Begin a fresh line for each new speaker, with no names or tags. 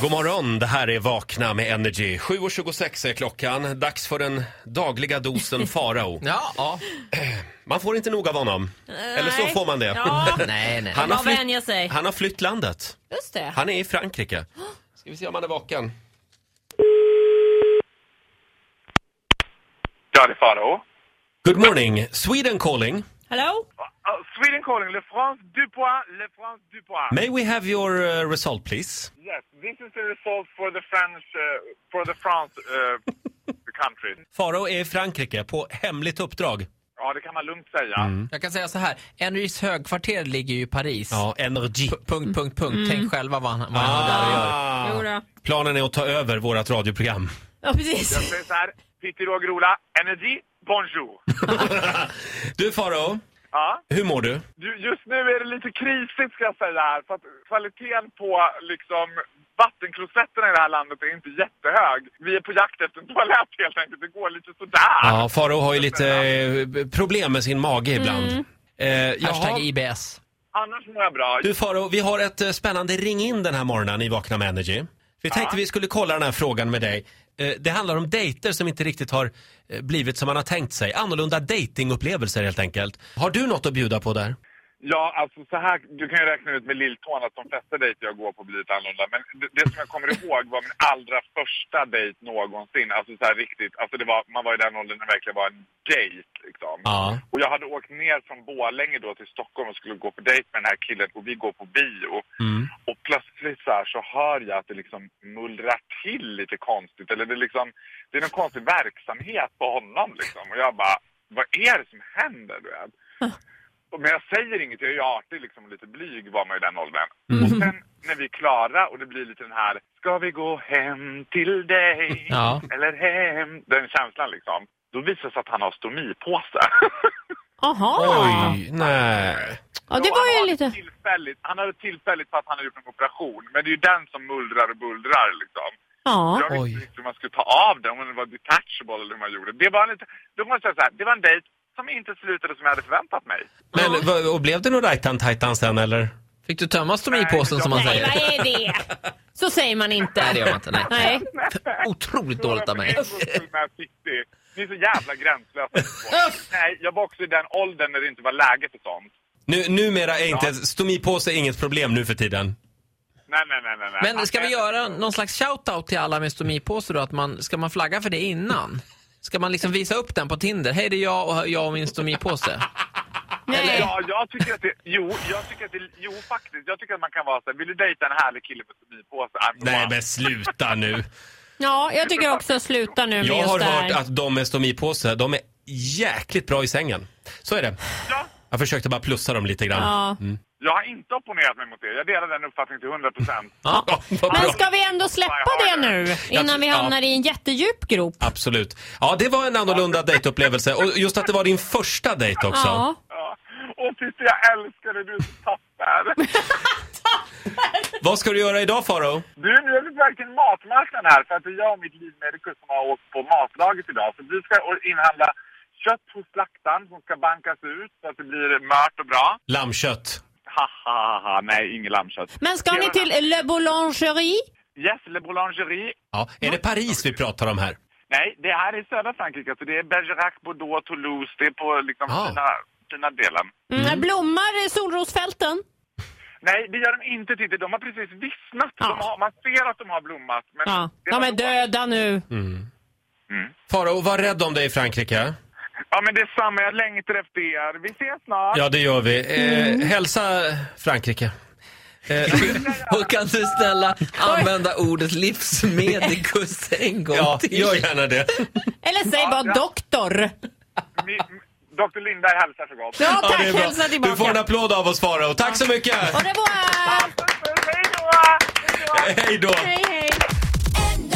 God morgon, det här är Vakna med Energy. 7.26 är klockan. Dags för den dagliga dosen Farao.
Ja, ja.
Man får inte nog av honom. Eller så
Nej.
får man det.
Ja,
Nej, nej.
Han, har
Man vänjer sig.
flytt, han har flytt landet.
just det.
Han är i Frankrike. Ska vi se om han är vaken.
Ja, det är Farao.
Good morning, Sweden calling.
Hello?
Uh, Sweden calling, Le France Dupois, Le France Dupois.
May we have your uh, result please?
yes, this is the result for the French, uh, for the France uh, country.
Farao är i Frankrike på hemligt uppdrag.
Ja, det kan man lugnt säga.
Mm.
Jag kan säga så här. Energys högkvarter ligger ju i Paris.
Ja, energi.
P- Punkt, punkt, punkt. Tänk själva vad han, vad han har där och gör.
Jo då.
Ah! Planen är att ta över vårt radioprogram.
Ja,
Jag
precis.
säger så här, Pitti Rågrola, Energy, bonjour.
Du Farao,
ja,
hur mår du?
ju- just nu är det lite krisigt ska jag säga här, för att kvaliteten på liksom vattenklosetterna i det här landet är inte jättehög. Vi är på jakt efter en toalett helt enkelt, det går lite sådär.
Ja, Farao har ju lite eh, problem med sin mage ibland. Eh, jaha.
Hashtag IBS.
Annars mår jag bra.
Du Faro, vi har ett eh, spännande ring in den här morgonen i Vakna med Energy. Vi tänkte vi skulle kolla den här frågan med dig. Eh, Det handlar om dejter som inte riktigt har eh, blivit som man har tänkt sig. Annorlunda datingupplevelser helt enkelt. Har du något att bjuda på där?
Ja, alltså så här, du kan ju räkna ut med lilltån att de flesta dejter jag går på blir lite annorlunda. Men det, det som jag kommer ihåg var min allra första dejt någonsin. Alltså så här riktigt, alltså det var, man var i den åldern när det verkligen var en dejt liksom.
Ja.
Och jag hade åkt ner från Borlänge då till Stockholm och skulle gå på dejt med den här killen och vi går på bio. Och plötsligt så här så hör jag att det liksom mullrar till lite konstigt. Eller det är liksom, det är någon konstig verksamhet på honom liksom. Och jag bara, vad är det som händer du vet? Och- Men jag säger inget, jag är ju artig liksom, och lite blyg var man ju i den åldern.
Mm.
Och sen när vi är klara och det blir lite den här, ska vi gå hem till dig?
Ja.
Eller hem? Den känslan liksom. Då visar det sig att han har stomipåse.
Aha.
Oj, nej.
Ja, det
Så
var
han
ju
har
lite...
Tillfälligt, han hade tillfälligt för att han hade gjort en operation. Men det är ju den som mullrar och bullrar liksom.
Ja.
Jag visste
Oj.
inte hur man skulle ta av den, om den var detachable eller hur man gjorde. Det var lite, då måste jag säga så här, det var en dejt som inte slutade som jag hade förväntat mig.
Men vad- och blev det någon rajtan tajtan sen eller?
Fick du tömma stomipåsen som man
Nej,
säger?
vad är det? Så säger man inte.
Nej, det gör man inte. Nej.
Nej.
Otroligt dåligt av mig.
Jag var på en gång med City. Ni är så jävla gränslösa. Nej, jag var också i den åldern när det inte var läge för sånt.
Nu, numera är inte stomipåse inget problem nu för tiden.
Nej, nej, nej, nej. nej.
Men ska vi göra någon slags shoutout till alla med stomipåse då? Att man, ska man flagga för det innan? Ska man liksom visa upp den på Tinder? Hej, det är jag och jag och min stomipåse.
Nej.
Ja, jag tycker att det... Jo, jag tycker att det... Jo, faktiskt. Jag tycker att man kan vara så här, vill du dejta en härlig kille med stomipåse?
Nej men sluta nu.
Ja, jag tycker också sluta nu med
Jag har
just det
hört
här.
att de med stomipåse, de är jäkligt bra i sängen. Så är det.
Ja.
Jag försökte bara plussa dem lite grann.
Ja.
Jag har inte opponerat mig mot det. Jag delar den uppfattningen till 100 procent.
Ja, vad bra.
Men ska vi ändå släppa det nu innan vi hamnar i en jättedjup grop?
Absolut. Ja, det var en annorlunda dejtupplevelse. Och just att det var din första dejt också.
Ja.
Ja. Och Titti, jag älskar dig. Du är så tapper.
Vad ska du göra idag, Faro?
Du, nu är vi på väg till matmarknaden här för att det är jag och mitt livmedikus som har åkt på matlaget idag. Så vi ska inhandla kött hos slaktaren som ska bankas ut så att det blir mört och bra.
Lammkött.
Ha, ha, ha, ha. nej, inget lammkött.
Men ska ni till Le Boulangerie?
Yes, Le Boulangerie.
Ja. Är det Paris vi pratar om här?
Nej, det här är södra Frankrike. Så det är Bergerac, Bordeaux, Toulouse. Det är på liksom
Ah.
fina, fina delen.
Mm. Blommar solrosfälten?
Nej, det gör de inte, Titti. De har precis vissnat.
Ja.
De har, man ser att de har blommat. Men
Ja,
det
de
var
är
då-
döda nu.
Mm. Faro, var rädd om dig i Frankrike.
Ja, men det är samma. Jag längtar efter er. Vi ses snart.
Ja, det gör vi. Eh,
Mm.
Hälsa Frankrike. Eh,
Och kan du snälla använda ordet livsmedikus en gång
ja,
till?
gör gärna det.
Eller säg bara
ja.
doktor.
Mi, m- Dr. Linda hälsar så gott.
Ja
Ja,
tack,
det är bra.
hälsa tillbaka.
Du får en applåd av oss, Faro. Tack så mycket!
Och det var...
Hej då! Hej då!
Hej då!
Hej hej.